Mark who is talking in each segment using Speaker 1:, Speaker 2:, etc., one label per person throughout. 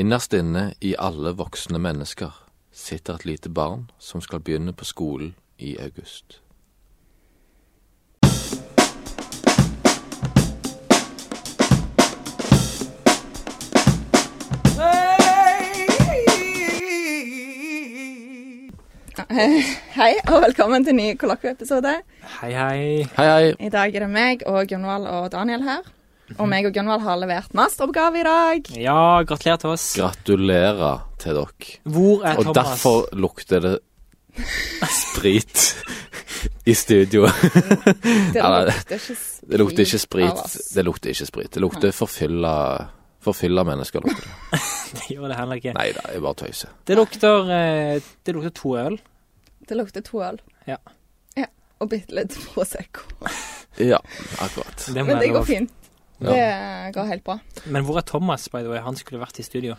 Speaker 1: Innerst inne i alle voksne mennesker sitter et lite barn som skal begynne på skolen i august.
Speaker 2: Hei, og velkommen til ny kollokvieepisode.
Speaker 3: Hei, hei.
Speaker 1: Hei, hei.
Speaker 2: I dag er det meg og Gunvald og Daniel her. Og meg og Gunvald har levert masteroppgave i dag.
Speaker 3: Ja, gratulerer til oss.
Speaker 1: Gratulerer til dere.
Speaker 3: Hvor er
Speaker 1: Og
Speaker 3: Thomas?
Speaker 1: derfor lukter det sprit i studioet.
Speaker 2: Det
Speaker 1: Ja, det-
Speaker 2: lukter ikke sprit.
Speaker 1: Det lukter ikke
Speaker 2: av
Speaker 1: sprit.
Speaker 2: oss.
Speaker 1: Det lukter ikke sprit. Det lukter forfylla Forfylla mennesker lukter det.
Speaker 3: Det gjør det heller ikke.
Speaker 1: Nei da, jeg bare tøyser.
Speaker 3: Det lukter, eh, det lukter to øl.
Speaker 2: Det lukter to øl.
Speaker 3: Ja.
Speaker 2: ja. Og bitte litt Prosecco.
Speaker 1: Ja, akkurat.
Speaker 3: Det
Speaker 2: Men
Speaker 3: må være
Speaker 2: det går
Speaker 3: lov.
Speaker 2: fint.
Speaker 1: Ja.
Speaker 2: Det går helt bra.
Speaker 3: Men hvor er Thomas, by the way? Han skulle vært i studio.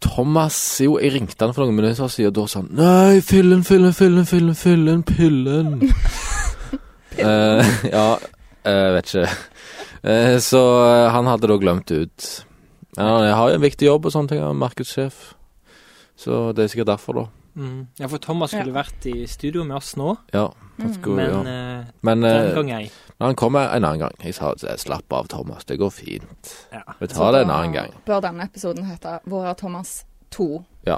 Speaker 1: Thomas Jo, jeg ringte han for noen minutter siden, og da sa han Nei, fyllen, fyllen, fyllen, fyllen, fyllen, pillen. Eh, ja, jeg vet ikke. Eh, så eh, han hadde da glemt det ut. Men han har jo en viktig jobb og sånne ting, han er markedssjef. Så det er sikkert derfor, da.
Speaker 3: Mm. Ja, for Thomas skulle vært i studio med oss nå,
Speaker 1: Ja. han
Speaker 2: Mm.
Speaker 1: skulle-
Speaker 3: men
Speaker 1: ja.
Speaker 3: eh,
Speaker 1: men
Speaker 3: den
Speaker 1: eh,
Speaker 3: gang ei.
Speaker 1: når han kommer en annen gang Jeg sa slapp av, Thomas. Det går fint.
Speaker 3: Ja.
Speaker 1: Vi tar det en annen gang.
Speaker 2: Bør denne episoden hete 'Hvor er Thomas 2'?
Speaker 1: Ja.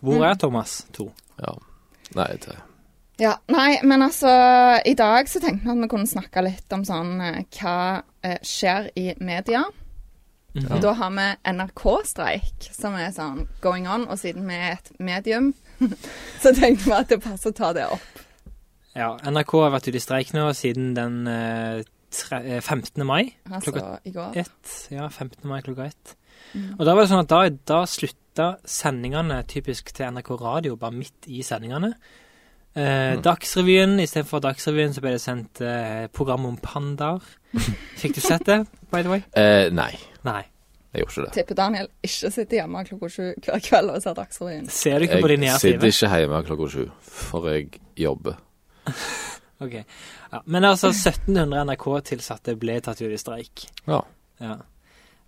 Speaker 3: Hvor er Thomas? To.
Speaker 1: ja. Nei, det
Speaker 2: Ja, nei, men altså I dag så tenkte vi at vi kunne snakke litt om sånn eh, hva eh, skjer i media.
Speaker 1: Mhm.
Speaker 2: Og Da har vi NRK-streik, som er sånn going on, og siden vi er et medium, så tenkte vi at det passer å ta det opp.
Speaker 3: Ja, NRK har vært ute i streik nå siden den eh, tre, eh, 15. mai.
Speaker 2: Altså
Speaker 3: Klokka
Speaker 2: i går.
Speaker 3: Ett. Ja, 15. mai klokka ett.
Speaker 2: Mm.
Speaker 3: Og da var det sånn at da, da slutta sendingene typisk til NRK Radio bare midt i sendingene. Eh,
Speaker 1: Mm.
Speaker 3: Dagsrevyen, istedenfor Dagsrevyen så ble det sendt eh, program om pandaer. Fikk du sett det, by the way?
Speaker 1: eh, Nei,
Speaker 3: Nei.
Speaker 1: jeg gjorde ikke det.
Speaker 2: Tipper Daniel ikke sitter hjemme klokka sju hver kveld og ser Dagsrevyen.
Speaker 3: Ser du ikke på din
Speaker 1: Jeg sitter
Speaker 3: nære
Speaker 1: ikke hjemme klokka sju, for jeg jobber.
Speaker 3: Ok. Ja, men altså, 1700 NRK-tilsatte ble tatt ut i streik.
Speaker 1: Ja.
Speaker 3: Ja.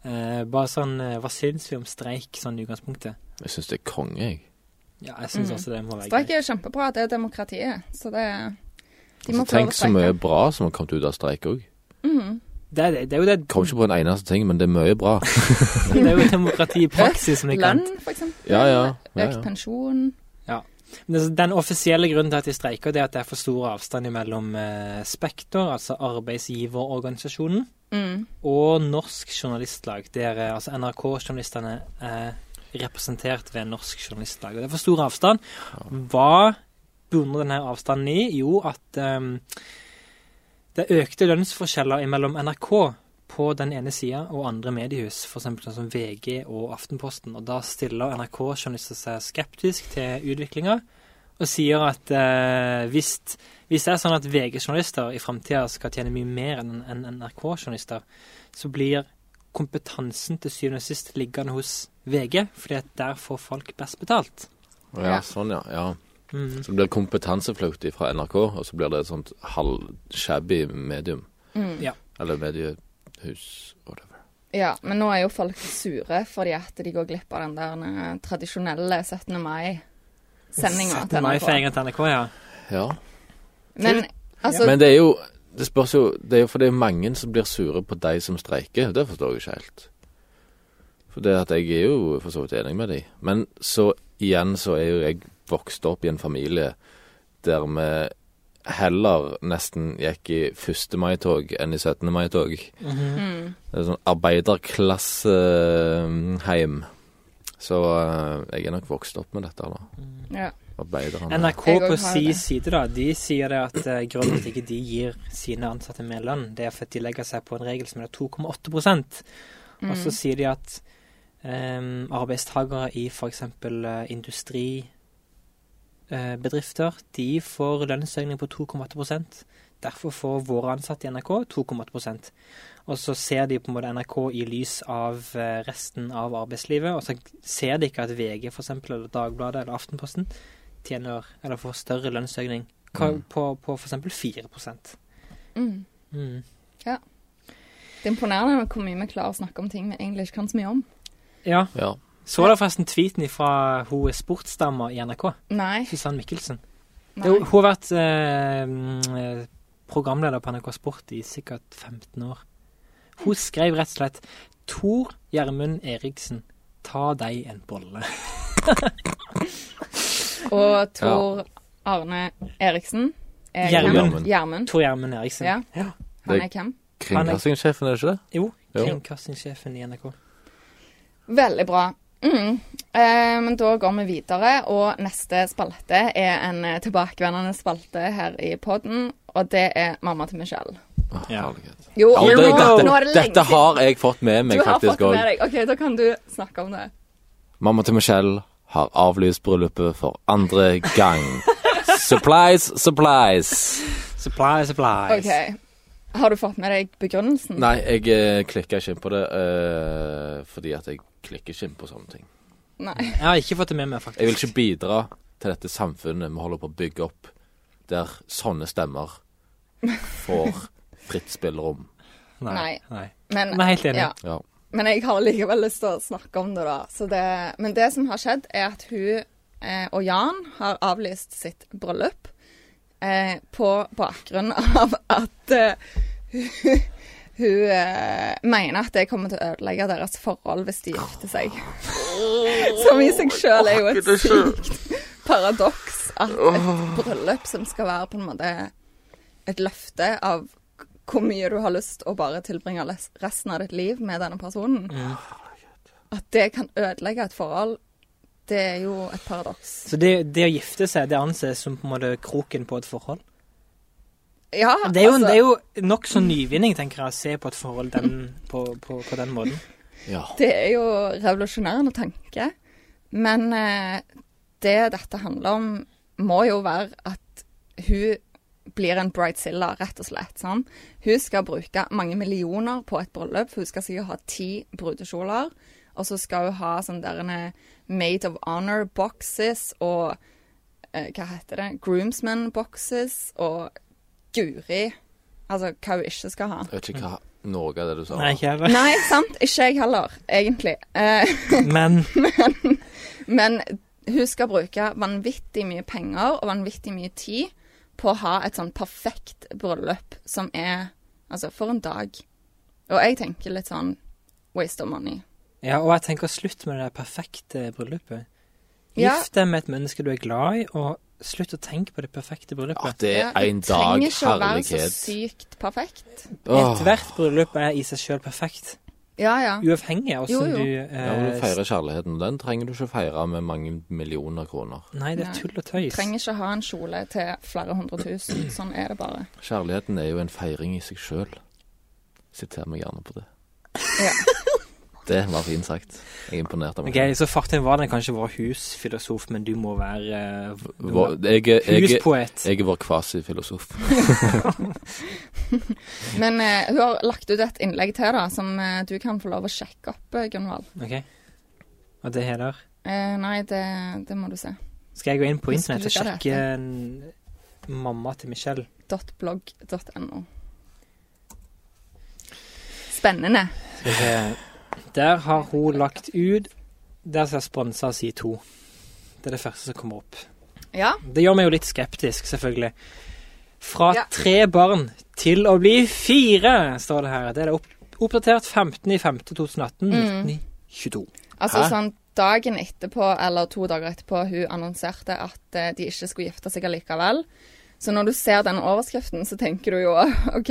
Speaker 3: Eh, bare sånn, eh, hva syns vi om streik sånn i utgangspunktet?
Speaker 1: Jeg syns det er konge, jeg.
Speaker 3: Ja, jeg syns
Speaker 2: Mm.
Speaker 3: også det må være
Speaker 2: Streik
Speaker 3: greit.
Speaker 2: er jo kjempebra, det er demokratiet, så det De må
Speaker 1: Altså,
Speaker 2: få lov
Speaker 1: tenk
Speaker 2: å
Speaker 1: så
Speaker 2: streike.
Speaker 1: mye bra som har kommet ut av streik òg.
Speaker 2: Mhm.
Speaker 3: Det, er- det er jo det,
Speaker 1: Kom ikke på en eneste ting, men det er mye bra.
Speaker 3: det er jo et demokrati i praksis, om ikke
Speaker 2: Lønn,
Speaker 3: annet.
Speaker 2: for eksempel.
Speaker 1: Ja, ja. ja,
Speaker 2: Økt
Speaker 1: ja.
Speaker 2: pensjon.
Speaker 3: Men altså, Den offisielle grunnen til at de streiker, det er at det er for stor avstand mellom eh, Spekter, altså arbeidsgiverorganisasjonen,
Speaker 2: Mm.
Speaker 3: og Norsk Journalistlag, der eh, altså NRK-journalistene er representert ved Norsk Journalistlag. Og det er for stor avstand. Hva bunner denne avstanden i? Jo, at eh, det er økte lønnsforskjeller mellom NRK på den ene sida og andre mediehus, f.eks. sånn som VG og Aftenposten. Og da stiller NRK-journalister seg skeptisk til utviklinga og sier at eh, hvis, hvis det er sånn at VG-journalister i framtida skal tjene mye mer enn enn NRK-journalister, så blir kompetansen til syvende og sist liggende hos VG, fordi at der får folk best betalt.
Speaker 1: ja, sånn, ja. ja.
Speaker 3: Mm.
Speaker 1: Så det blir kompetanseflukt fra NRK, og så blir det et sånt halvshabby medium.
Speaker 2: Mm.
Speaker 3: Ja.
Speaker 1: Eller mediehus, whatever.
Speaker 2: Ja, men nå er jo folk sure fordi at de går glipp av den der eh, tradisjonelle 17. mai-sendinga til NRK.
Speaker 3: Mai-feiringa til NRK, ja.
Speaker 1: Ja.
Speaker 2: Men altså,
Speaker 1: Men det er jo Det spørs jo Det er jo fordi det er mange som blir sure på de som streiker. Det forstår jeg ikke helt. For det at jeg er jo for så vidt enig med de. Men så igjen så er jo jeg vokst opp i en familie der vi heller nesten gikk i 1. mai-tog enn i 17. mai-tog.
Speaker 3: Mhm.
Speaker 2: mm,
Speaker 1: Det er sånn arbeiderklasseheim. Så eh, jeg er nok vokst opp med dette, da.
Speaker 2: ja.
Speaker 1: Arbeiderne.
Speaker 3: NRK
Speaker 2: Mm. Jeg
Speaker 3: på
Speaker 2: også har
Speaker 3: si
Speaker 2: det.
Speaker 3: side, da, de sier det at eh, grunnen til at ikke de gir sine ansatte mer lønn, det er fordi de legger seg på en regel som er 2,8 Og
Speaker 2: mm,
Speaker 3: så sier de at um, arbeidstagere i eh, f.eks. industribedrifter, eh, de får lønnsøkning på 2,8 Derfor får våre ansatte i NRK 2,8 Og så ser de på en måte NRK i lys av eh, resten av arbeidslivet, og så ser de ikke at VG for eksempel, eller Dagbladet eller Aftenposten tjener eller får større lønnsøkning Hva-
Speaker 1: Mm.
Speaker 3: på, på for eksempel 4
Speaker 2: Mm.
Speaker 3: mm.
Speaker 2: Det er imponerende hvor mye vi klarer å snakke om ting vi egentlig ikke kan så mye om.
Speaker 3: Ja,
Speaker 1: Ja.
Speaker 3: Så dere forresten tweeten fra hun er sportsdama i NRK?
Speaker 2: Nei.
Speaker 3: Susann Mikkelsen.
Speaker 2: nei.
Speaker 3: Jo, hun har vært eh, mm, eh, programleder på NRK Sport i sikkert 15 år. Hun skrev rett og slett Tor Gjermund Eriksen, ta deg en bolle.
Speaker 2: Og Tor Arne Eriksen. er
Speaker 3: Gjermund.
Speaker 2: hvem? Gjermund.
Speaker 3: Tor Gjermund Eriksen.
Speaker 2: Ja. Han er hvem?
Speaker 1: Kringkastingssjefen, er det ikke det?
Speaker 3: Jo,
Speaker 1: Jo.
Speaker 3: kringkastingssjefen i NRK.
Speaker 2: Veldig bra. Mm. Eh, men da går vi videre, og neste spalte er en eh, tilbakevendende spalte her i podden, og det er mamma til Michelle.
Speaker 1: Åh,
Speaker 3: Ja.
Speaker 1: herlighet.
Speaker 2: Jo,
Speaker 1: Ja, det,
Speaker 2: nå, nå
Speaker 1: dette,
Speaker 2: er det lenge
Speaker 1: dette har jeg fått med
Speaker 2: Du
Speaker 1: meg,
Speaker 2: har fått
Speaker 1: faktisk
Speaker 2: det
Speaker 1: òg.
Speaker 2: med deg. OK, da kan du snakke om det.
Speaker 1: Mamma til Michelle har avlyst bryllupet for andre gang. Supplies, supplies.
Speaker 3: Supply, supplies.
Speaker 2: OK. Har du fått med deg begrunnelsen?
Speaker 1: Nei, jeg eh, klikker ikke inn på det eh, fordi at jeg klikker ikke inn på sånne ting.
Speaker 2: Nei.
Speaker 3: Jeg har ikke fått det med meg, faktisk.
Speaker 1: Jeg vil ikke bidra til dette samfunnet vi holder på å bygge opp, der sånne stemmer får fritt spillerom.
Speaker 3: Nei.
Speaker 2: Nei.
Speaker 3: Nei.
Speaker 2: Men,
Speaker 3: Men jeg er helt enig.
Speaker 2: ja.
Speaker 1: Ja.
Speaker 2: men jeg har likevel lyst til å snakke om det, da. Så det, men det som har skjedd, er at hun eh, og Jan har avlyst sitt bryllup eh, på bakgrunn av at eh, hun, hun eh, mener at det kommer til å ødelegge deres forhold hvis de gifter seg. Som i seg sjøl er jo et sykt paradoks at et bryllup som skal være på en måte et løfte av hvor mye du har lyst å bare tilbringe les- resten av ditt liv med denne personen. At det kan ødelegge et forhold, det er jo et paradoks.
Speaker 3: Så det, det å gifte seg, det anses som på en måte kroken på et forhold?
Speaker 2: Ja,
Speaker 3: Det er jo,
Speaker 2: altså,
Speaker 3: det er jo nokså nyvinning, tenker jeg, å se på et forhold den, på, på, på den måten.
Speaker 1: ja.
Speaker 2: det er jo revolusjonerende tanke. Men eh, det dette handler om, må jo være at hun blir en bridezilla, rett og slett. Sånn. Hun skal bruke mange millioner på et bryllup. Hun skal sikkert ha ti brudekjoler. Og så skal hun ha sånn der en Made of Honor boxes og eh, Hva heter det? Groomsman boxes og guri. Altså hva hun ikke skal ha.
Speaker 1: Jeg vet ikke hva noe av det du sa.
Speaker 3: Nei, ikke heller.
Speaker 2: Nei, sant. Ikke jeg heller, egentlig. Eh,
Speaker 3: Men
Speaker 2: men hun skal bruke vanvittig mye penger og vanvittig mye tid på å ha et sånn perfekt bryllup som er Altså, for en dag. Og jeg tenker litt sånn waste of money.
Speaker 3: Ja, og jeg tenker slutt med det der perfekte bryllupet.
Speaker 2: Ja.
Speaker 3: Gift deg med et menneske du er glad i, og slutt å tenke på det perfekte
Speaker 1: Ja,
Speaker 3: bryllupet.
Speaker 1: det
Speaker 2: Ja,
Speaker 1: er en
Speaker 2: det
Speaker 1: dag
Speaker 2: trenger ikke å være så
Speaker 1: herlighet.
Speaker 2: sykt perfekt.
Speaker 1: Åh.
Speaker 3: Ethvert bryllup er i seg sjøl perfekt,
Speaker 2: Ja, ja.
Speaker 3: uavhengig av
Speaker 2: Jo, jo.
Speaker 3: hvordan du
Speaker 1: Ja, men du
Speaker 3: eh,
Speaker 1: feirer kjærligheten. Den trenger du ikke feire med mange millioner kroner.
Speaker 3: Nei, det er
Speaker 2: Nei.
Speaker 3: tull og tøys.
Speaker 2: Trenger ikke ha en kjole til flere hundre tusen. Sånn er det bare.
Speaker 1: Kjærligheten er jo en feiring i seg sjøl. Siter meg gjerne på det.
Speaker 2: Ja.
Speaker 1: Det var fint sagt. Jeg er imponert av meg.
Speaker 3: Ok, Så Fartin var den kanskje vår husfilosof, men du må være eh, v- du må
Speaker 1: Vår, jeg, er-
Speaker 3: være
Speaker 1: jeg, er-
Speaker 3: huspoet.
Speaker 1: jeg er vår kvasifilosof.
Speaker 2: Men eh, hun har lagt ut et innlegg til, da, som eh, du kan få lov å sjekke opp, eh, Gunvald.
Speaker 3: Ok. Og det heter
Speaker 2: Eh, nei, det, det må du se.
Speaker 3: Skal jeg gå inn på
Speaker 2: Jeg skulle
Speaker 3: internett
Speaker 2: ikke ha
Speaker 3: og
Speaker 2: det
Speaker 3: sjekke en- mamma til Michelle?
Speaker 2: .blogg.no. Spennende.
Speaker 3: Skal vi se. Der har hun lagt ut Der skal jeg sponse og si to. Det er det første som kommer opp.
Speaker 2: Ja.
Speaker 3: Det gjør meg jo litt skeptisk, selvfølgelig. Fra
Speaker 2: Ja.
Speaker 3: tre barn til å bli fire, står det her. Det er det opp oppdatert 15.05.2018.
Speaker 2: Mm.
Speaker 3: 1922.
Speaker 2: Altså
Speaker 1: Hæ?
Speaker 2: sånn dagen etterpå, eller to dager etterpå, hun annonserte at eh, de ikke skulle gifte seg allikevel. Så når du ser den overskriften, så tenker du jo OK,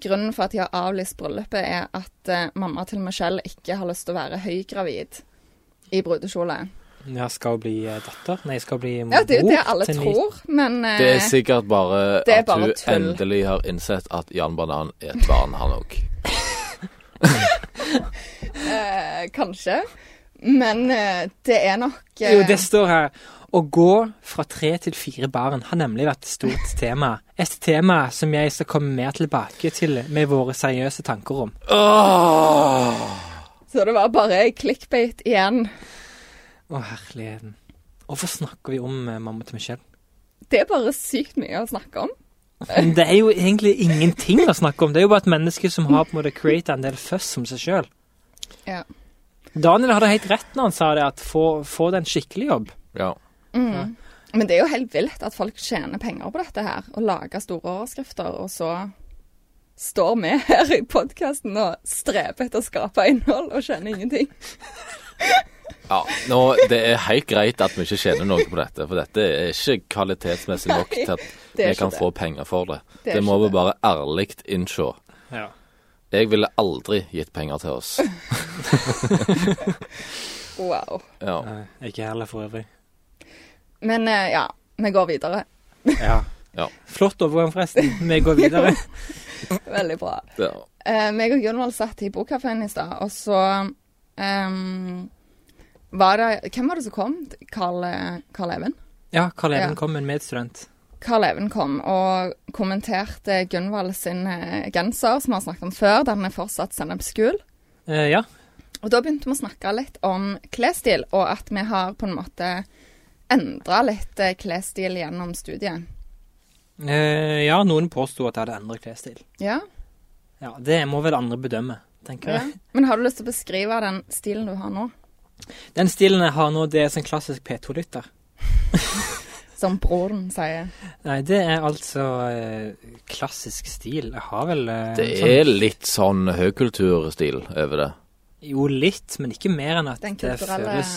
Speaker 2: grunnen for at de har avlyst bryllupet, er at eh, mamma til Michelle ikke har lyst til å være høygravid i brudekjole.
Speaker 3: Jeg skal bli eh, datter. Nei, jeg skal bli mor.
Speaker 2: Ja, det er jo det alle
Speaker 3: til ni-
Speaker 2: tror, men eh,
Speaker 1: Det er sikkert bare
Speaker 2: Det er
Speaker 1: at
Speaker 2: bare
Speaker 1: hun
Speaker 2: tull.
Speaker 1: endelig har innsett at Jan Banan er et barn, han òg.
Speaker 2: eh, kanskje. Men eh, det er nok eh,
Speaker 3: Jo, det står her. Å gå fra tre til fire barn har nemlig vært et stort tema. Et tema som jeg skal komme mer tilbake til med våre seriøse tanker om.
Speaker 2: Så det var bare clickbait igjen.
Speaker 3: Å, herligheten. Hvorfor snakker vi om eh, mamma til Michelle?
Speaker 2: Det er bare sykt mye å snakke om.
Speaker 3: Men det er jo egentlig ingenting å snakke om. Det er jo bare et menneske som har på en måte creata en del fuss om seg sjøl. Daniel hadde helt rett når han sa det, at få, få deg en skikkelig jobb.
Speaker 1: Ja.
Speaker 3: Ja.
Speaker 2: Mm. Men det er jo helt vilt at folk tjener penger på dette her, og lager store overskrifter, og så står vi her i podkasten og streber etter å skape innhold og skjønner ingenting.
Speaker 1: ja. Nå, det er helt greit at vi ikke tjener noe på dette, for dette er ikke kvalitetsmessig nok til at
Speaker 2: Det er
Speaker 1: vi kan
Speaker 2: ikke det.
Speaker 1: få penger for det.
Speaker 2: Det
Speaker 1: Det,
Speaker 2: er
Speaker 1: må vi
Speaker 2: ikke det.
Speaker 1: bare ærlig innse.
Speaker 3: Ja.
Speaker 1: Jeg ville aldri gitt penger til oss.
Speaker 2: Wow.
Speaker 1: Ja.
Speaker 3: Nei, Eh, ikke heller for øvrig.
Speaker 2: Men eh, ja, vi går videre.
Speaker 3: Ja.
Speaker 1: Ja.
Speaker 3: Flott overgang, forresten. Vi går videre.
Speaker 2: Veldig bra.
Speaker 1: ja.
Speaker 2: Eh, meg og Gunvald satt i bokkafeen i stad, og så ehm, var det Hvem var det som kom? Carl, Carl Even?
Speaker 3: Ja, Karl Even
Speaker 2: Ja.
Speaker 3: kom med en medstudent.
Speaker 2: Carl Even kom og kommenterte Gunvald sin eh, genser, som vi har snakket om før. Den er fortsatt sennepsgul.
Speaker 3: Eh, ja.
Speaker 2: Og da begynte vi å snakke litt om klesstil, og at vi har på en måte endra litt eh, klesstil gjennom studiet.
Speaker 3: Eh, ja, noen påsto at jeg hadde endret klesstil.
Speaker 2: Ja?
Speaker 3: Ja, det må vel andre bedømme, tenker
Speaker 2: ja.
Speaker 3: jeg.
Speaker 2: Men har du lyst til å beskrive den stilen du har nå?
Speaker 3: Den stilen jeg har nå, det er sånn klassisk P2-lytter.
Speaker 2: Som broren sier.
Speaker 3: Nei, det er altså eh, klassisk stil. Jeg har vel eh,
Speaker 1: Det
Speaker 3: en
Speaker 1: er litt sånn høykulturstil over det.
Speaker 3: sånn, Jo, litt, men ikke mer enn at
Speaker 2: Den
Speaker 3: det
Speaker 2: kulturelle
Speaker 3: føles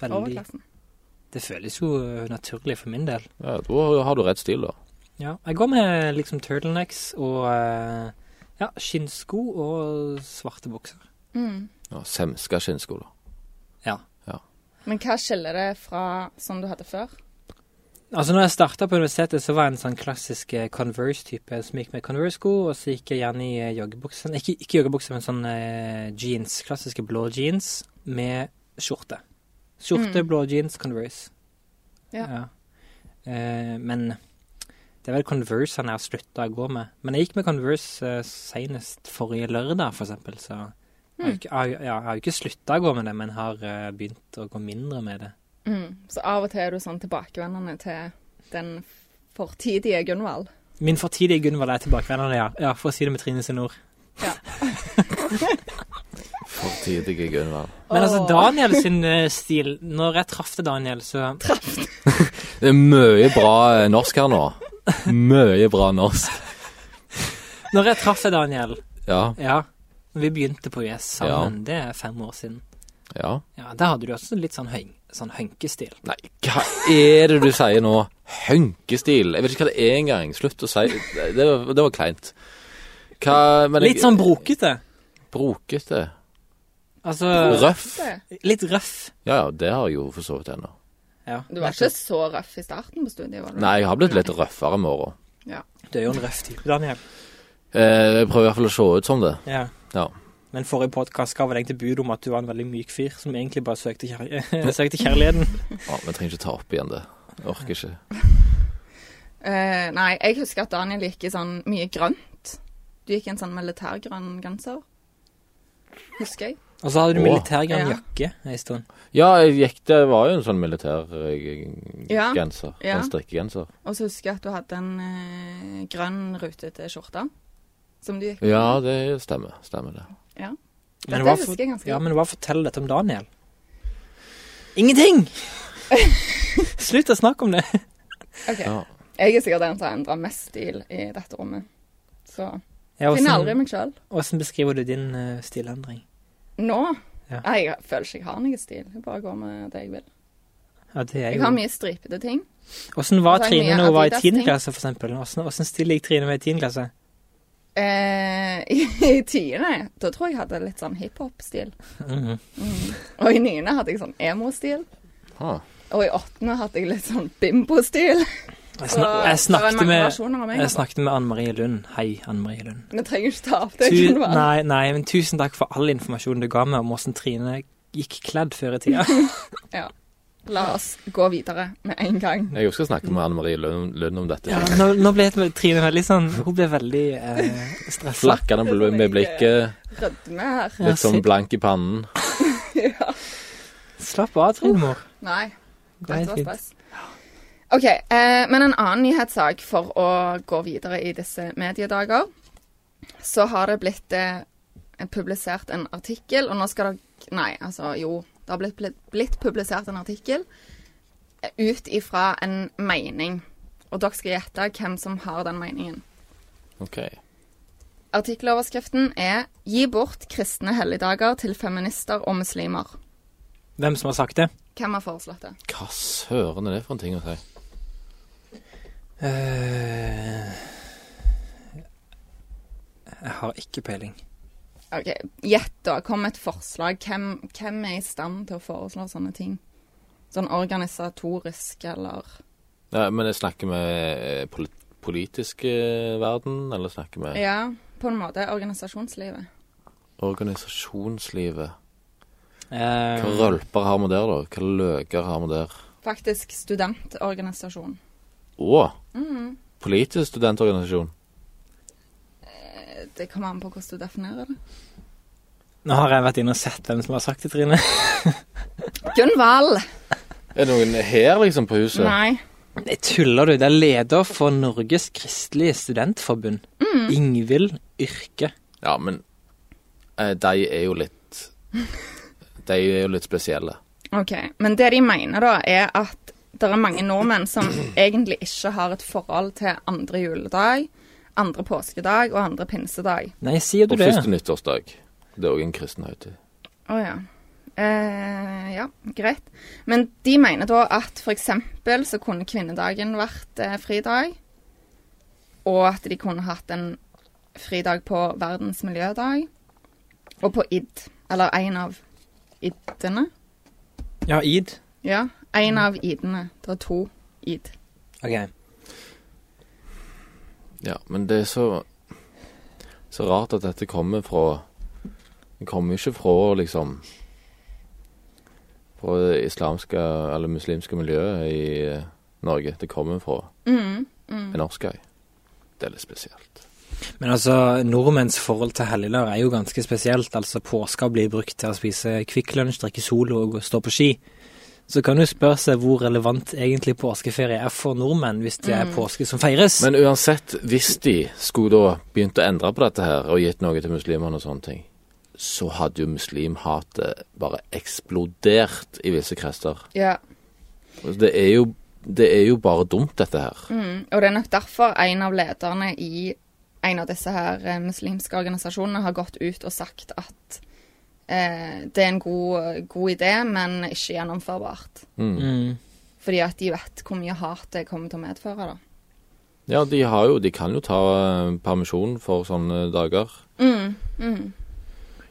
Speaker 3: veldig
Speaker 2: Overklassen.
Speaker 3: Det føles jo eh, naturlig for min del.
Speaker 1: Ja, da har du rett stil, da.
Speaker 3: Ja, jeg går med liksom turtlenecks og eh, ja, skinnsko og svarte bukser.
Speaker 2: Mm.
Speaker 1: Ja, Semska skinnsko, da.
Speaker 2: Men hva skiller det fra som du hadde før?
Speaker 3: Altså når jeg starta på universitetet, så var jeg en sånn klassisk eh, Converse-type som gikk med Converse-sko, og så gikk jeg gjerne i eh, joggebukse Ikke, ikke joggebukse, men sånn eh, jeans. Klassiske blå jeans med skjorte. Skjorte,
Speaker 2: Mm.
Speaker 3: blå jeans, Converse.
Speaker 2: Ja.
Speaker 3: Eh, men det er vel Converse han har slutta å gå med. Men jeg gikk med Converse eh, senest forrige lørdag, for eksempel, så jeg har
Speaker 2: Mm.
Speaker 3: ikke- jeg, jeg, jeg har jo ikke slutta å gå med det, men har eh, begynt å gå mindre med det.
Speaker 2: Mm. Så av og til er du sånn tilbakevendende til den fortidige Gunvald.
Speaker 3: Min fortidige Gunvald er tilbakevendende, ja. ja. For å si det med Trine sine ord.
Speaker 1: Fortidige Gunvald.
Speaker 3: Men altså,
Speaker 2: Åh.
Speaker 3: Daniel sin eh, stil Når jeg traff Daniel, så
Speaker 1: Det er mye bra eh, norsk her nå. Mye bra norsk.
Speaker 3: Når jeg traff Daniel,
Speaker 1: Ja.
Speaker 3: ja når Vi begynte på US sammen, det er fem år siden.
Speaker 1: Ja.
Speaker 3: Ja, Da hadde du også litt sånn, høy, sånn hønkestil.
Speaker 1: Nei, hva er det du sier nå? Hønkestil? Jeg vet ikke hva det er engang. Slutt å si Det, var- det var kleint. Hva men jeg-
Speaker 3: Litt sånn brokete.
Speaker 1: Brokete.
Speaker 3: Altså
Speaker 1: Røff.
Speaker 3: Litt røff.
Speaker 1: Ja, ja, det har jeg jo for så vidt ennå.
Speaker 3: Ja,
Speaker 2: Du var ikke så røff i starten på studiet, var du?
Speaker 1: Nei, jeg har blitt litt røffere med åra.
Speaker 3: Du er jo en røff type, Daniel.
Speaker 1: Eh, jeg prøver i hvert fall å se ut som det.
Speaker 3: Ja.
Speaker 1: Ja.
Speaker 3: Men forrige podkast ga vel deg til bud om at du var en veldig myk fyr som egentlig bare søkte, kjær søkte kjærligheten.
Speaker 1: Ja, Vi trenger ikke ta opp igjen det. Jeg Orker ikke.
Speaker 2: Eh, nei, jeg husker at Daniel gikk i sånn mye grønt. Du gikk i en sånn militærgrønn genser. Husker jeg.
Speaker 3: Og så hadde du
Speaker 1: Åh.
Speaker 3: militærgrønn
Speaker 2: Ja.
Speaker 3: jakke en stund.
Speaker 1: Ja, jeg gikk, det var jo en sånn militær eh,
Speaker 2: Ja.
Speaker 1: genser.
Speaker 2: Ja.
Speaker 1: En strikkegenser.
Speaker 2: Og så husker jeg at du hadde en eh, grønn rutete skjorte. Som du gikk med.
Speaker 1: Ja, det stemmer. Stemmer det.
Speaker 3: Men
Speaker 2: Dette
Speaker 3: hva,
Speaker 2: husker jeg ganske
Speaker 3: ja,
Speaker 2: godt.
Speaker 3: men hva forteller dette om Daniel? Ingenting! Slutt å snakke om det.
Speaker 2: Ok.
Speaker 1: Ja.
Speaker 2: Jeg er sikkert den som har endra mest stil i dette rommet. Så
Speaker 3: Ja,
Speaker 2: finner aldri
Speaker 3: hvordan,
Speaker 2: meg sjøl.
Speaker 3: hvordan beskriver du din eh, stilendring?
Speaker 2: Nå
Speaker 3: Ja.
Speaker 2: Nei, jeg føler ikke jeg har noen stil. Jeg bare går med det jeg vil.
Speaker 3: Ja, det er
Speaker 2: Jeg har
Speaker 3: jo...
Speaker 2: mye stripete ting.
Speaker 3: Hvordan var
Speaker 2: så har jeg
Speaker 3: Trine
Speaker 2: mye
Speaker 3: når hun var i
Speaker 2: Adidas-ting.
Speaker 3: 10. klasse, for eksempel? Hvordan, hvordan stiller jeg Trine med i 10. klasse?
Speaker 2: Eh, I i tiende da tror jeg jeg hadde litt sånn hiphop-stil.
Speaker 3: Mhm.
Speaker 2: Mm. Og i niende hadde jeg sånn emo-stil.
Speaker 1: Ah.
Speaker 2: Og i åttende hadde jeg litt sånn bimbo-stil.
Speaker 3: Jeg,
Speaker 2: Så
Speaker 3: snak, jeg,
Speaker 2: det
Speaker 3: snakket
Speaker 2: var mange
Speaker 3: med,
Speaker 2: versjoner av meg.
Speaker 3: jeg snakket med Anne-Marie Lund. Hei, Anne-Marie Lund.
Speaker 2: Vi trenger ikke ta opp det.
Speaker 3: Tu
Speaker 2: Gunvald.
Speaker 3: nei, nei, men tusen takk for all informasjonen du ga meg om hvordan Trine gikk kledd før i tida.
Speaker 2: La oss gå videre med en gang.
Speaker 1: Jeg skal snakke med Anne Marie Lund, Lund om dette.
Speaker 3: Ja, nå, nå ble det- Trine veldig sånn Hun ble veldig eh, stressa.
Speaker 1: Flakkende bl- med blikket,
Speaker 2: Rødme her.
Speaker 3: Ja,
Speaker 1: litt sånn
Speaker 3: si-
Speaker 1: blank i pannen.
Speaker 2: ja.
Speaker 3: Slapp av, Trinemor.
Speaker 2: Nei,
Speaker 3: Det er
Speaker 2: dette var
Speaker 3: helt fint.
Speaker 2: stress. OK, eh, men en annen nyhetssak for å gå videre i disse mediedager. Så har det blitt eh, publisert en artikkel, og nå skal det artikkel Nei, altså jo. Det har blitt, blitt, blitt publisert en artikkel eh, ut ifra en mening. Og dere skal gjette hvem som har den meningen.
Speaker 1: Ok.
Speaker 2: Artikkeloverskriften er 'Gi bort kristne helligdager til feminister og muslimer'.
Speaker 3: Hvem som har sagt det?
Speaker 2: Hvem har foreslått det?
Speaker 1: Hva søren er det for en ting å si?
Speaker 3: Eh, jeg har ikke peiling.
Speaker 2: Ok, Gjett, da. Kom med et forslag. Hvem, hvem er i stand til å foreslå sånne ting? Sånn organisatorisk eller
Speaker 1: Nei, men jeg snakker med eh, poli politisk eh, verden, eller snakker med
Speaker 2: Ja, på en måte. Organisasjonslivet.
Speaker 1: organisasjonslivet.
Speaker 3: Eh,
Speaker 1: Hva rølper har vi der, da? Hva løker har vi der?
Speaker 2: Faktisk studentorganisasjon.
Speaker 1: Å!
Speaker 3: Mhm.
Speaker 1: Politisk studentorganisasjon.
Speaker 2: Eh, Det kommer an på hvordan du definerer det.
Speaker 3: nå har jeg vært inne og sett hvem som har sagt det, Trine.
Speaker 2: Gunvald!
Speaker 1: Er det noen her, liksom, på huset?
Speaker 2: Nei.
Speaker 3: Nei, tuller du? Det er leder for Norges kristelige studentforbund. Ingvild Yrke.
Speaker 1: Ja, men eh, de er jo litt De er jo litt spesielle.
Speaker 2: Ok, Men det de mener, da, er at det er mange nordmenn som egentlig ikke har et forhold til andre juledag, andre påskedag og andre pinsedag.
Speaker 3: Nei, sier du
Speaker 1: Og
Speaker 3: det?
Speaker 1: første nyttårsdag. Det er òg en kristen høytid.
Speaker 2: Å ja. Eh, ja, greit. Men de mener da at for eksempel så kunne kvinnedagen vært eh, fridag, og at de kunne hatt en fridag på verdens miljødag, og på id, eller en av idene.
Speaker 3: Ja, id.
Speaker 2: Ja, en av idene. Det er to id.
Speaker 3: Ok.
Speaker 1: Ja, men det er så Så rart at dette kommer fra Det kommer jo ikke fra liksom Fra det islamske eller muslimske miljøet i eh, Norge. Det kommer fra
Speaker 2: Mm,
Speaker 1: en norsk øy. Det er litt spesielt.
Speaker 3: Men altså, nordmenns forhold til helligdager er jo ganske spesielt. Altså, påska blir brukt til å spise Kvikk Lunsj, drikke Solo og gå- stå på ski. Så kan du spørre seg hvor relevant egentlig påskeferie er for nordmenn, hvis det er påske som feires.
Speaker 1: Men uansett, hvis de skulle da begynt å endre på dette her og gitt noe til muslimene og sånne ting, så hadde jo muslimhatet bare eksplodert i visse krester.
Speaker 2: ja.
Speaker 1: Altså, Det er jo, det er jo bare dumt, dette her.
Speaker 2: Mm, og det er nok derfor en av lederne i en av disse her eh, muslimske organisasjonene har gått ut og sagt at eh, det er en god, god idé, men ikke gjennomførbart.
Speaker 1: Mm.
Speaker 3: Mm.
Speaker 2: Fordi at de vet hvor mye hat det kommer til å medføre, da.
Speaker 1: Ja, de har jo De kan jo ta eh, permisjon for sånne dager.
Speaker 2: Mm, mm.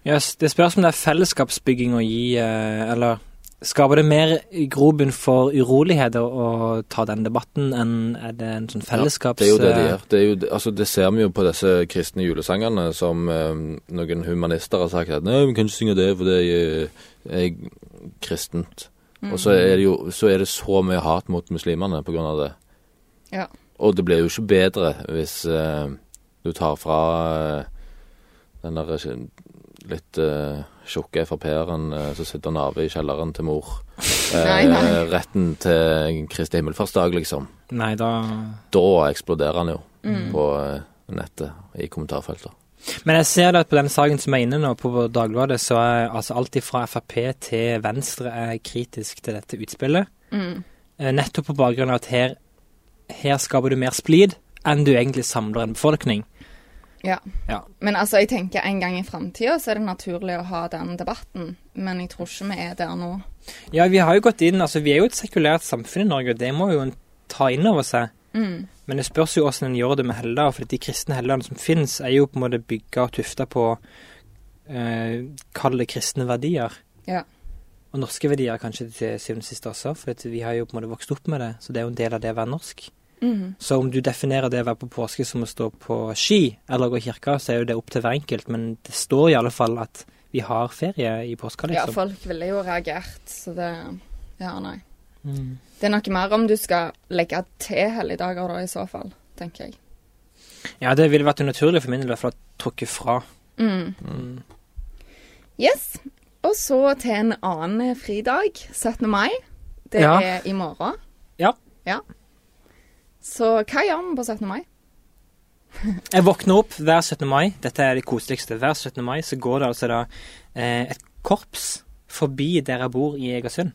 Speaker 3: Yes, det spørs om det er fellesskapsbygging å gi, eh, eller skaper det mer grobunn for uroligheter å ta den debatten, enn er det en sånn fellesskaps...
Speaker 1: Det er jo det de
Speaker 3: eh,
Speaker 1: gjør. Det, er jo, altså, det ser vi jo på disse kristne julesangene som eh, noen humanister har sagt at nei, vi kan ikke synge det, for det er, eh, er kristent.
Speaker 2: Mm.
Speaker 1: Og så er, det jo, så er det så mye hat mot muslimene på grunn av det.
Speaker 2: Ja.
Speaker 1: Og det blir jo ikke bedre hvis eh, du tar fra eh, den der eh, litt eh, tjukke Frp-eren eh, som sitter og naver i kjelleren til mor, eh,
Speaker 2: Nei, nei.
Speaker 1: retten til Kristi himmelfartsdag, liksom
Speaker 3: Nei, da...
Speaker 1: da eksploderer han jo på eh, nettet i kommentarfeltet.
Speaker 3: Men jeg ser det at på den saken som er inne nå på Dagbladet, så er altså alt fra Frp til Venstre er kritisk til dette utspillet.
Speaker 2: Mm.
Speaker 3: Eh, Nettopp på bakgrunn av at her, her skaper du mer splid enn du egentlig samler en befolkning.
Speaker 2: ja.
Speaker 3: Ja.
Speaker 2: Men altså, jeg tenker en gang i framtida så er det naturlig å ha den debatten, men jeg tror ikke vi er der nå.
Speaker 3: Ja, vi har jo gått inn, altså vi er jo et sekulært samfunn i Norge, og det må jo en ta inn over seg.
Speaker 2: Mm.
Speaker 3: Men det spørs jo hvordan en gjør det med helligdager, for de kristne helligdagene som finnes, er jo på en måte bygga og tufta på eh, kall det kristne verdier.
Speaker 2: Ja.
Speaker 3: Og norske verdier kanskje til syvende og sist også, for at vi har jo på en måte vokst opp med det, så det er jo en del av det å være norsk.
Speaker 2: Mhm.
Speaker 3: Så om du definerer det å være på påske som å stå på ski eller gå i kirka, så er jo det opp til hver enkelt, men det står i alle fall at vi har ferie i påska,
Speaker 2: Ja,
Speaker 3: liksom.
Speaker 2: folk ville jo reagert, så det Ja, nei.
Speaker 3: Mm.
Speaker 2: Det er noe mer om du skal legge til helligdager da, i så fall, tenker jeg.
Speaker 3: Ja, det ville vært unaturlig for min del i hvert fall å tråkke fra.
Speaker 2: Mm.
Speaker 3: Mm.
Speaker 2: Yes. Og så til en annen fridag, 17. mai. Det
Speaker 3: Ja.
Speaker 2: er i morgen.
Speaker 3: Ja.
Speaker 2: ja. Så hva gjør vi på 17. mai?
Speaker 3: Jeg våkner opp hver 17. mai. Dette er det koseligste. Hver 17. mai så går det altså da eh, et korps forbi der jeg bor i Egersund.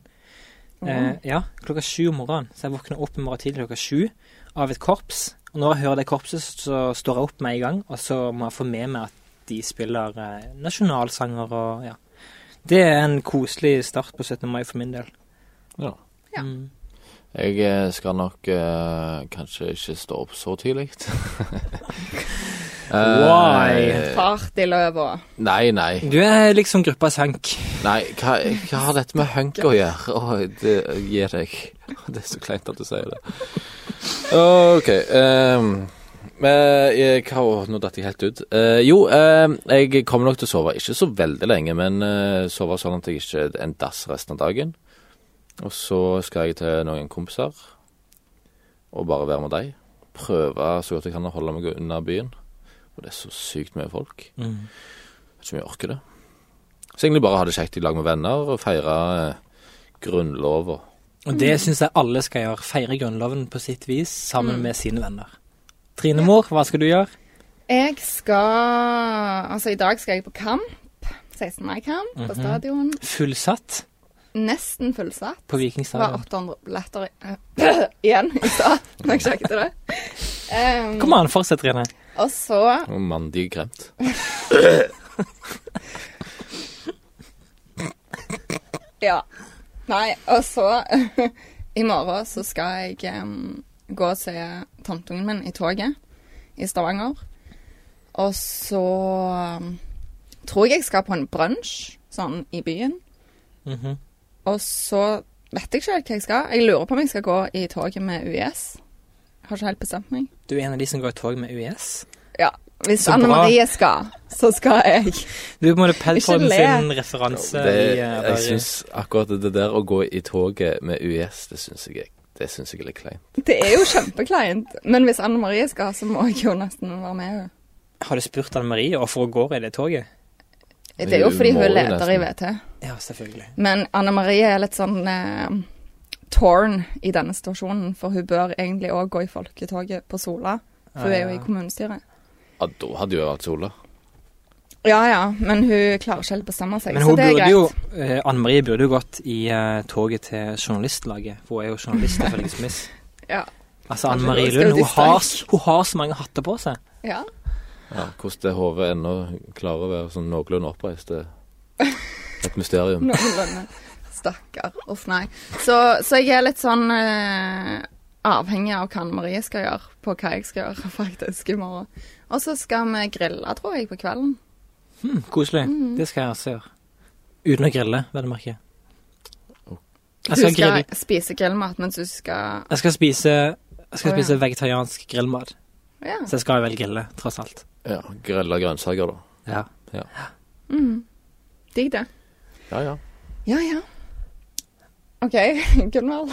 Speaker 3: Eh, ja, klokka sju om morgenen. Så jeg våkner opp i morgen tidlig klokka sju av et korps. Og når jeg hører det korpset, så står jeg opp med en gang, og så må jeg få med meg at de spiller eh, nasjonalsanger og ja. Det er en koselig start på 17. mai for min del.
Speaker 1: Ja.
Speaker 2: Ja.
Speaker 3: Mm.
Speaker 1: Jeg eh, skal nok eh, kanskje ikke stå opp så tidlig. Eh,
Speaker 3: Why?
Speaker 2: Fart i løva.
Speaker 1: Nei, nei.
Speaker 3: Du er liksom gruppa Sank.
Speaker 1: nei hva, hva har dette med hunk å gjøre? Å, det gir deg. Det er så kleint at du sier det. OK. ehm, men jeg, hva, å, nå datt jeg helt ut. Eh, jo, ehm, jeg kommer nok til å sove. Ikke så veldig lenge, men eh, sove sånn at jeg ikke er en dass resten av dagen. Og så skal jeg til noen kompiser og bare være med dem. Prøve så godt jeg kan å holde meg unna byen. Og det er så sykt mye folk. Vet ikke om jeg orker det. Så egentlig bare ha det kjekt i lag med venner og feire eh, grunnlov og
Speaker 3: Og det syns jeg alle skal gjøre. Feire Grunnloven på sitt vis sammen
Speaker 2: Mm.
Speaker 3: med sine venner. Trine mor, hva skal du gjøre?
Speaker 2: Jeg skal Altså, i dag skal jeg på kamp. 16. mai-kamp
Speaker 3: Mhm.
Speaker 2: på stadion.
Speaker 3: Fullsatt
Speaker 2: Nesten fullsatt.
Speaker 3: på
Speaker 2: Det var
Speaker 3: Vikingstadion.
Speaker 2: 800 billetter i- igjen i stad, når jeg sjekket det. Um,
Speaker 3: Kom an, fortsett, Trine.
Speaker 2: Og så
Speaker 1: og mandig gremt.
Speaker 2: Ja. Nei, og så I morgen så skal jeg em, gå og se tanteungen min i toget i Stavanger. Og så em, tror jeg jeg skal på en brunsj sånn i byen.
Speaker 3: Mhm.
Speaker 2: Og så vet jeg ikke helt hva jeg skal. Jeg lurer på om jeg skal gå i toget med UiS. Jeg har ikke helt bestemt meg.
Speaker 3: Du er en av de som går i tog med UiS.
Speaker 2: Ja, hvis
Speaker 3: Så
Speaker 2: Anne
Speaker 3: bra.
Speaker 2: Marie skal, så skal jeg.
Speaker 3: Du er på en måte Peltorden
Speaker 2: le.
Speaker 3: sin referanse.
Speaker 1: Det,
Speaker 3: i, eh,
Speaker 1: jeg
Speaker 3: bare-
Speaker 1: syns akkurat det der å gå i toget med UiS, det syns jeg, det synes jeg er litt kleint.
Speaker 2: Det er jo kjempekleint. Men hvis Anne Marie skal, så må jeg jo nesten være med henne.
Speaker 3: Har du spurt Anne Marie hvorfor hun går i det toget?
Speaker 2: Det er jo
Speaker 1: Hun
Speaker 2: fordi hun
Speaker 1: må
Speaker 2: er
Speaker 1: jo
Speaker 2: leder i
Speaker 1: nesten.
Speaker 2: VT.
Speaker 3: Ja, selvfølgelig.
Speaker 2: Men Anne Marie er litt sånn eh, torn i denne situasjonen, for hun bør egentlig òg gå i folketoget på Sola. For hun er jo i kommunestyret.
Speaker 1: Ja, da hadde jo jeg vært sola.
Speaker 2: Ja ja, men hun klarer ikke helt å bestemme seg,
Speaker 3: Men
Speaker 2: så
Speaker 3: hun
Speaker 2: det er
Speaker 3: burde
Speaker 2: greit.
Speaker 3: jo, eh, Anne Marie burde jo gått i eh, toget til journalistlaget. For hun er jo journalist, ifølge Smith.
Speaker 2: Ja.
Speaker 3: Altså,
Speaker 2: Kanskje
Speaker 3: Anne Marie
Speaker 2: hun skal
Speaker 3: Lund, hun
Speaker 2: ut i
Speaker 3: har, s- hun har så mange hatter på seg.
Speaker 2: Ja.
Speaker 1: Ja, hvordan det hodet ennå klarer å være sånn noenlunde oppreist, det er et mysterium.
Speaker 2: Noenlunde. Stakkar. Uff, nei. Så, så jeg er litt sånn eh, avhengig av hva Anne Marie skal gjøre, på hva jeg skal gjøre faktisk i morgen. Og så skal vi grille, tror jeg, på kvelden.
Speaker 3: Hm, koselig.
Speaker 2: Mm.
Speaker 3: Det skal jeg også gjøre. Uten å grille, vel å merke. Jeg
Speaker 2: Hun
Speaker 3: skal,
Speaker 2: skal
Speaker 3: grille.
Speaker 2: spise grillmat mens hun skal
Speaker 3: jeg skal spise jeg skal
Speaker 2: Å, ja.
Speaker 3: spise vegetariansk grillmat,
Speaker 2: Ja.
Speaker 3: så jeg skal vel grille, tross alt.
Speaker 1: Ja, Grilla grønnsaker, da.
Speaker 3: Ja.
Speaker 2: Mm. Digg det.
Speaker 1: Ja ja.
Speaker 2: Ja, ja. OK, Gunvald.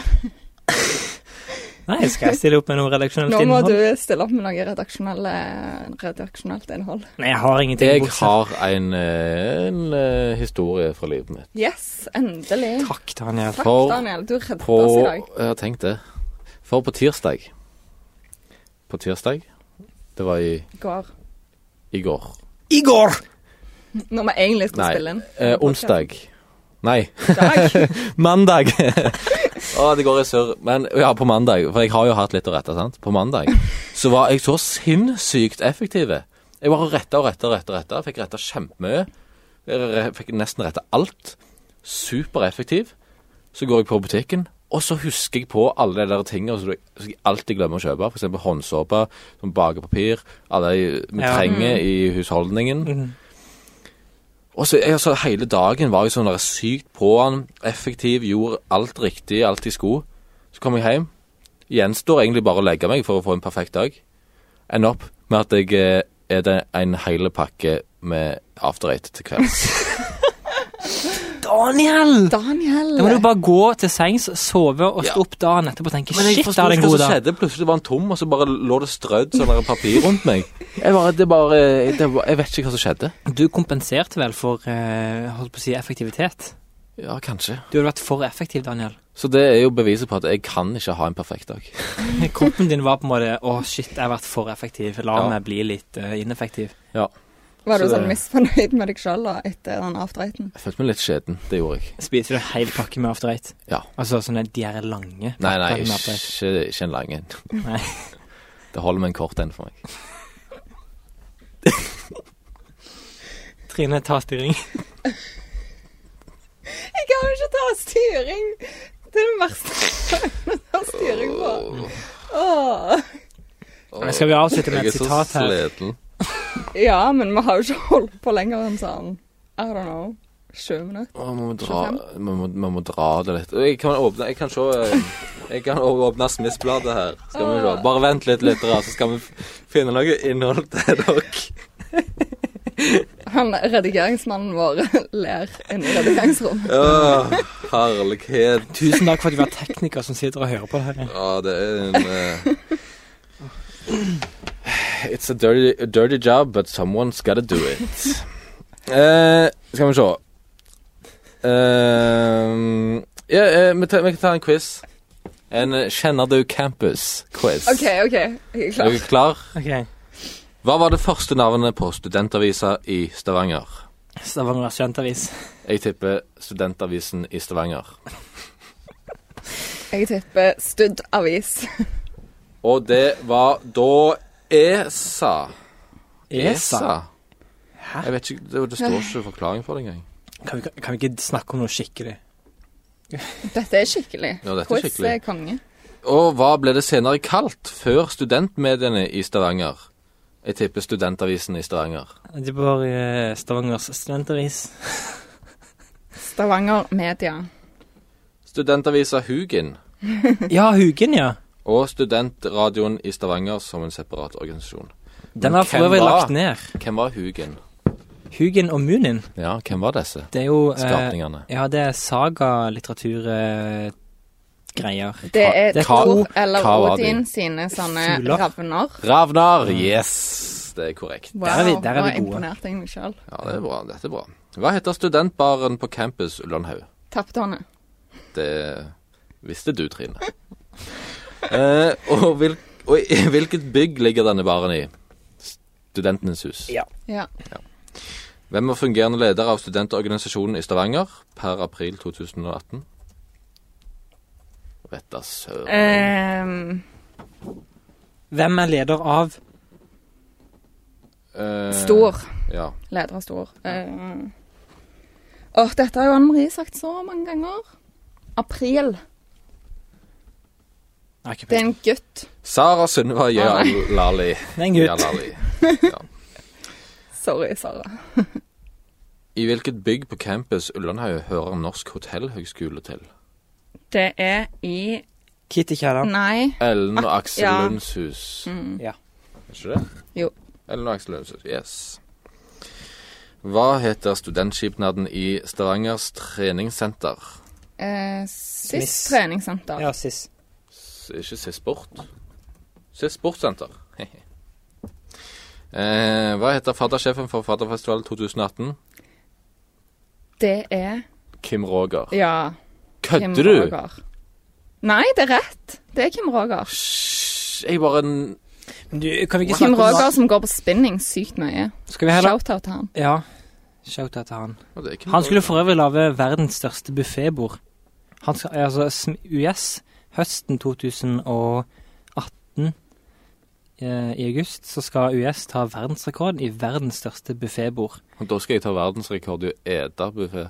Speaker 3: Nei, skal jeg stille opp med noe redaksjonelt
Speaker 2: Nå må
Speaker 3: innhold?
Speaker 2: du stille opp med noe redaksjonelle- redaksjonelt innhold.
Speaker 3: Nei, jeg har ingenting.
Speaker 1: Jeg
Speaker 3: bortsett-
Speaker 1: har en, eh, en eh, historie fra livet mitt.
Speaker 2: Yes, endelig.
Speaker 3: Takk, Daniel.
Speaker 2: Takk,
Speaker 1: For-
Speaker 2: Daniel. Du reddet
Speaker 1: På
Speaker 2: oss i dag.
Speaker 1: Jeg har tenkt det. For på tirsdag På tirsdag Det var i,
Speaker 2: Går.
Speaker 1: i går. Eh,
Speaker 3: Igor!
Speaker 2: Når vi egentlig skal
Speaker 1: Nei.
Speaker 2: spille inn.
Speaker 1: Eh, onsdag. Nei,
Speaker 2: Dag.
Speaker 1: mandag! Å, det går i surr. Men ja, på mandag. For jeg har jo hatt litt å rette, sant. På mandag så var jeg så sinnssykt effektiv. Jeg bare retta og retta og retta. og retta. Fikk retta kjempemye. Jeg re- Fikk nesten retta alt. Supereffektiv. Så går jeg på butikken, og så husker jeg på alle de der tingene som jeg- som jeg alltid glemmer å kjøpe. F.eks. håndsåpe, sånn bakepapir, alle de vi
Speaker 3: Ja.
Speaker 1: trenger i husholdningen. Og så jeg, altså, Hele dagen var jeg sånn der sykt på'n, effektiv, gjorde alt riktig, alt jeg skulle. Så kom jeg hjem. Gjenstår egentlig bare å legge meg for å få en perfekt dag. Ender opp med at jeg eh, er det en hel pakke med after eight til kvelds.
Speaker 3: Daniel!
Speaker 2: Daniel.
Speaker 3: Da må du bare gå til sengs, sove og stå
Speaker 1: Ja.
Speaker 3: opp dagen etterpå og tenke
Speaker 1: Men jeg
Speaker 3: shit, da
Speaker 1: forstod
Speaker 3: er det
Speaker 1: ikke
Speaker 3: en
Speaker 1: hva
Speaker 3: god
Speaker 1: som
Speaker 3: dag.
Speaker 1: skjedde. Plutselig var den tom, og så bare lå det strødd sånn der papir rundt meg. Jeg, bare, det bare, det var, jeg vet ikke hva som skjedde.
Speaker 3: Du kompenserte vel for eh, holdt på å si, effektivitet?
Speaker 1: Ja, kanskje.
Speaker 3: Du hadde vært for effektiv, Daniel.
Speaker 1: Så det er jo beviset på at jeg kan ikke ha en perfekt dag.
Speaker 3: Kroppen din var på en måte Å, shit, jeg har vært for effektiv. La
Speaker 1: Ja.
Speaker 3: meg bli litt eh, ineffektiv.
Speaker 2: Var du
Speaker 1: Så
Speaker 2: sånn
Speaker 1: det-
Speaker 2: misfornøyd med deg sjøl etter den after-eighten?
Speaker 1: Jeg følte meg litt skjeden. Det gjorde jeg.
Speaker 3: Spiser du hele pakken med after eight?
Speaker 1: Ja.
Speaker 3: Altså sånne de er lange?
Speaker 1: Nei, nei,
Speaker 3: pakkene med
Speaker 1: ikke,
Speaker 3: After Eight.
Speaker 1: ikke en lang en.
Speaker 3: Nei.
Speaker 1: Det holder med en kort en for meg.
Speaker 3: Trine, ta styring.
Speaker 2: Jeg kan jo ikke ta styring! Det er det verste jeg har styring på. Åh.
Speaker 1: Åh,
Speaker 3: Skal vi avslutte med et
Speaker 1: jeg er så
Speaker 3: sitat her?
Speaker 1: sliten.
Speaker 2: Ja, men vi har jo ikke holdt på lenger enn sånn I don't know. Sju minutter.
Speaker 1: Åh, man, må dra, man, må, man må dra det litt. Jeg kan åpne Jeg kan se eh, Jeg kan åpne Smithbladet her. Skal vi se. Bare vent litt, litt, så skal vi f- finne noe innhold til dere.
Speaker 2: Han redigeringsmannen vår ler inne i redigeringsrommet.
Speaker 1: Åh, herlighet.
Speaker 3: Tusen takk for at du var tekniker som sitter og hører på det her.
Speaker 1: Ja, det er en eh, It's a dirty, a dirty job, but someone's gotta do it. Eh, skal vi se Ehm, Ja, eh, vi, tar, vi kan ta en quiz. En eh, Kjenner du campus-quiz.
Speaker 2: OK, OK. Jeg er
Speaker 1: Er
Speaker 2: klar.
Speaker 1: dere klar?
Speaker 3: Ok,
Speaker 1: Hva var det første navnet på studentavisa i Stavanger?
Speaker 3: Stavanger Studentavis.
Speaker 1: Jeg tipper Studentavisen i Stavanger.
Speaker 2: Jeg tipper Studd avis.
Speaker 1: Og det var da E ESA.
Speaker 3: E
Speaker 1: E ESA?
Speaker 3: Hæ?
Speaker 1: Jeg vet ikke, det, det står ikke forklaring for det engang.
Speaker 3: Kan vi, kan vi ikke snakke om noe skikkelig?
Speaker 2: Dette er skikkelig.
Speaker 1: Ja, dette er
Speaker 2: Quiz
Speaker 1: skikkelig.
Speaker 2: er konge.
Speaker 1: Og hva ble det senere kalt før studentmediene i Stavanger? Jeg tipper Studentavisen i Stavanger.
Speaker 3: Det var eh, Stavangers Studentavis.
Speaker 2: Stavanger Media.
Speaker 1: Studentavisa Hugin
Speaker 3: Ja, Hugen, ja.
Speaker 1: og Studentradioen i Stavanger som en separat organisasjon.
Speaker 3: Den har
Speaker 1: Hvem
Speaker 3: for øvrig
Speaker 1: var-
Speaker 3: lagt ned.
Speaker 1: Hvem var Hugin?
Speaker 3: Hugen og Munin.
Speaker 1: Ja, hvem var disse
Speaker 3: Det er jo eh,
Speaker 1: skapningene?
Speaker 3: Ja, det er sagalitteraturgreier.
Speaker 2: Det er
Speaker 3: Det er
Speaker 2: Thor
Speaker 1: Thor
Speaker 2: eller
Speaker 1: hva var de?
Speaker 2: Odin sine sånne
Speaker 3: Fugler.
Speaker 2: ravner.
Speaker 1: Ravnar! Yes! Det er korrekt.
Speaker 2: Wow,
Speaker 3: er vi- der er
Speaker 2: nå
Speaker 3: vi gode.
Speaker 2: imponerte jeg meg sjøl.
Speaker 1: Ja, det er bra. Dette er bra. Hva heter studentbaren på campus Ullandhaug?
Speaker 2: Tappetårnet.
Speaker 1: Det visste du, Trine. Eh, og, hvil, og i hvilket bygg ligger denne baren i? Studentenes hus.
Speaker 3: Ja.
Speaker 2: Ja.
Speaker 1: Hvem var fungerende leder av studentorganisasjonen i Stavanger per april 2018? Vet da søren.
Speaker 2: Ehm,
Speaker 3: Hvem er leder av
Speaker 1: Eh,
Speaker 2: stor.
Speaker 1: Ja.
Speaker 2: Leder av stor. Ehm. Åh, dette har jo Anne Marie sagt så mange ganger. April.
Speaker 3: Nei, ikke
Speaker 2: Det er en gutt.
Speaker 1: Sara Sunniva
Speaker 2: Ah, nei.
Speaker 1: Jalali.
Speaker 3: Det er en gutt.
Speaker 1: Jalali.
Speaker 2: Sorry, Sara.
Speaker 1: I hvilket bygg på campus Ullandhaug hører Norsk hotellhøgskole til?
Speaker 2: Det er i
Speaker 3: Kitty Kielland.
Speaker 2: Nei.
Speaker 1: Ellen og
Speaker 2: Ak-
Speaker 1: Aksel
Speaker 2: ja.
Speaker 1: Lunds hus.
Speaker 2: Mm.
Speaker 3: Ja.
Speaker 1: Er ikke det?
Speaker 2: Jo.
Speaker 1: Ellen og Aksel Lunds hus. Yes. Hva heter studentskipnaden i Stavangers treningssenter?
Speaker 2: Eh, Sist
Speaker 3: Smith.
Speaker 2: treningssenter.
Speaker 3: Ja, Siss.
Speaker 1: S ikke Sist Sport? Sist Sportssenter. Hehe. eh, hva heter faddersjefen for Fadderfestivalen 2018?
Speaker 2: Det er
Speaker 1: Kim Roger.
Speaker 2: Ja. Kim
Speaker 1: Kødder du?
Speaker 2: Roger. Nei, det er rett. Det er Kim Roger.
Speaker 1: Hysj, Jeg bare n-
Speaker 3: Men Du, kan vi ikke
Speaker 2: Kim
Speaker 3: snakke om
Speaker 2: Roger som går på spinning sykt mye.
Speaker 3: Skal vi heller
Speaker 2: Shout-out til han.
Speaker 3: Ja. Shout-out til han.
Speaker 1: Å, det er Kim
Speaker 3: Han skulle
Speaker 1: Roger.
Speaker 3: for øvrig lage verdens største buffébord. Han skal Altså, sm- US høsten 2018 eh, i august så skal US ta verdensrekord i verdens største buffébord.
Speaker 1: Og Da skal jeg ta verdensrekord i å ete buffé.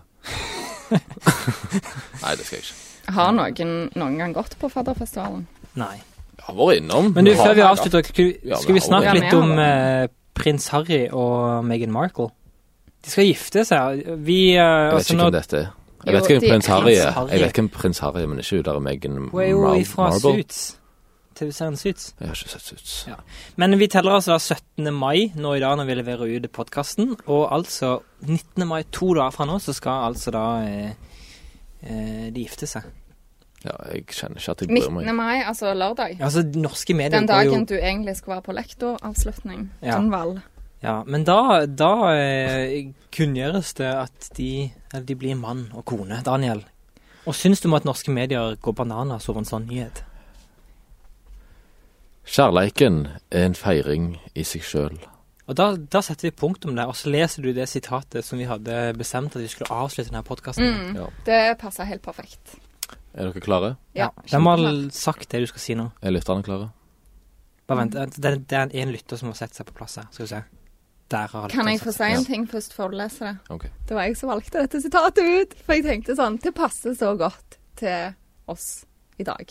Speaker 1: Nei, det skal jeg ikke.
Speaker 2: Har noen noen gang gått på fadderfestivalen?
Speaker 3: Nei.
Speaker 1: Jeg har vært innom.
Speaker 3: Men du,
Speaker 1: Har-
Speaker 3: før vi avslutter, skulle vi-
Speaker 1: Ja,
Speaker 3: skulle vi
Speaker 1: men
Speaker 3: snakke
Speaker 2: har vi-
Speaker 3: litt om eh, prins Harry og Meghan Markle? De skal gifte seg. Vi eh,
Speaker 1: Jeg vet
Speaker 3: altså,
Speaker 1: ikke
Speaker 3: nå,
Speaker 1: hvem dette er.
Speaker 2: Jo,
Speaker 1: Jeg vet ikke
Speaker 2: de-
Speaker 1: hvem prins Harry
Speaker 3: Prins
Speaker 1: er.
Speaker 3: Harry.
Speaker 1: Jeg vet hvem prins Harry er, men ikke hun der Meghan
Speaker 3: Hun er jo
Speaker 1: Mar-
Speaker 3: ifra
Speaker 1: Marble.
Speaker 3: Suits. TV-serien Suits.
Speaker 1: Jeg har ikke sett Suits.
Speaker 3: Ja. Men vi teller altså da 17. mai nå i dag når vi leverer ut podkasten. Og altså 19. mai, to dager fra nå, så skal altså da eh, eh, de gifte seg.
Speaker 1: Ja, jeg kjenner ikke at jeg bryr
Speaker 2: 19.
Speaker 1: meg.
Speaker 2: mai, altså lørdag.
Speaker 3: Altså, norske medier
Speaker 2: Den
Speaker 3: går jo
Speaker 2: dagen du egentlig skulle være på lektoravslutning.
Speaker 3: Ja.
Speaker 2: Sånn valg.
Speaker 3: Ja, Men da, da eh, kunngjøres det at de, eller de blir mann og kone. Daniel. Og syns du om at norske medier går bananas over en sånn nyhet?
Speaker 1: Kjærleiken er en feiring i seg sjøl.
Speaker 3: Og da, da setter vi punktum der, og så leser du det sitatet som vi hadde bestemt at vi skulle avslutte denne podkasten med.
Speaker 2: Mm,
Speaker 1: Ja.
Speaker 2: Det passer helt perfekt.
Speaker 1: Er dere klare?
Speaker 2: Ja.
Speaker 3: De har all sagt det du skal si nå.
Speaker 1: Er lytterne klare?
Speaker 3: Bare vent. Det er, det er en, en lytter som har sett seg på plass her. Skal vi se. Der har
Speaker 2: Kan jeg få si
Speaker 1: Ja.
Speaker 2: en ting først før du leser det?
Speaker 1: Ok.
Speaker 2: Det var jeg som valgte dette sitatet ut, for jeg tenkte sånn Det passer så godt til oss i dag.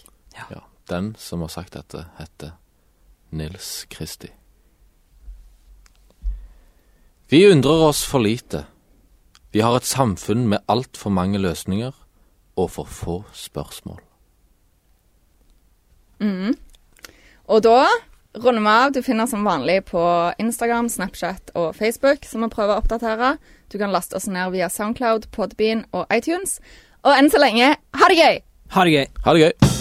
Speaker 1: Ja. Den som har sagt dette, heter Nils Kristi. Vi undrer oss for lite. Vi har et samfunn med altfor mange løsninger og for få spørsmål.
Speaker 2: Og da runder vi av. Du finner som vanlig på Instagram, Snapchat og Facebook, som vi prøver å oppdatere. Du kan laste oss ned via Soundcloud, Podbean og iTunes. Og enn så lenge, ha det gøy!
Speaker 3: Ha det gøy.
Speaker 1: Ha det gøy!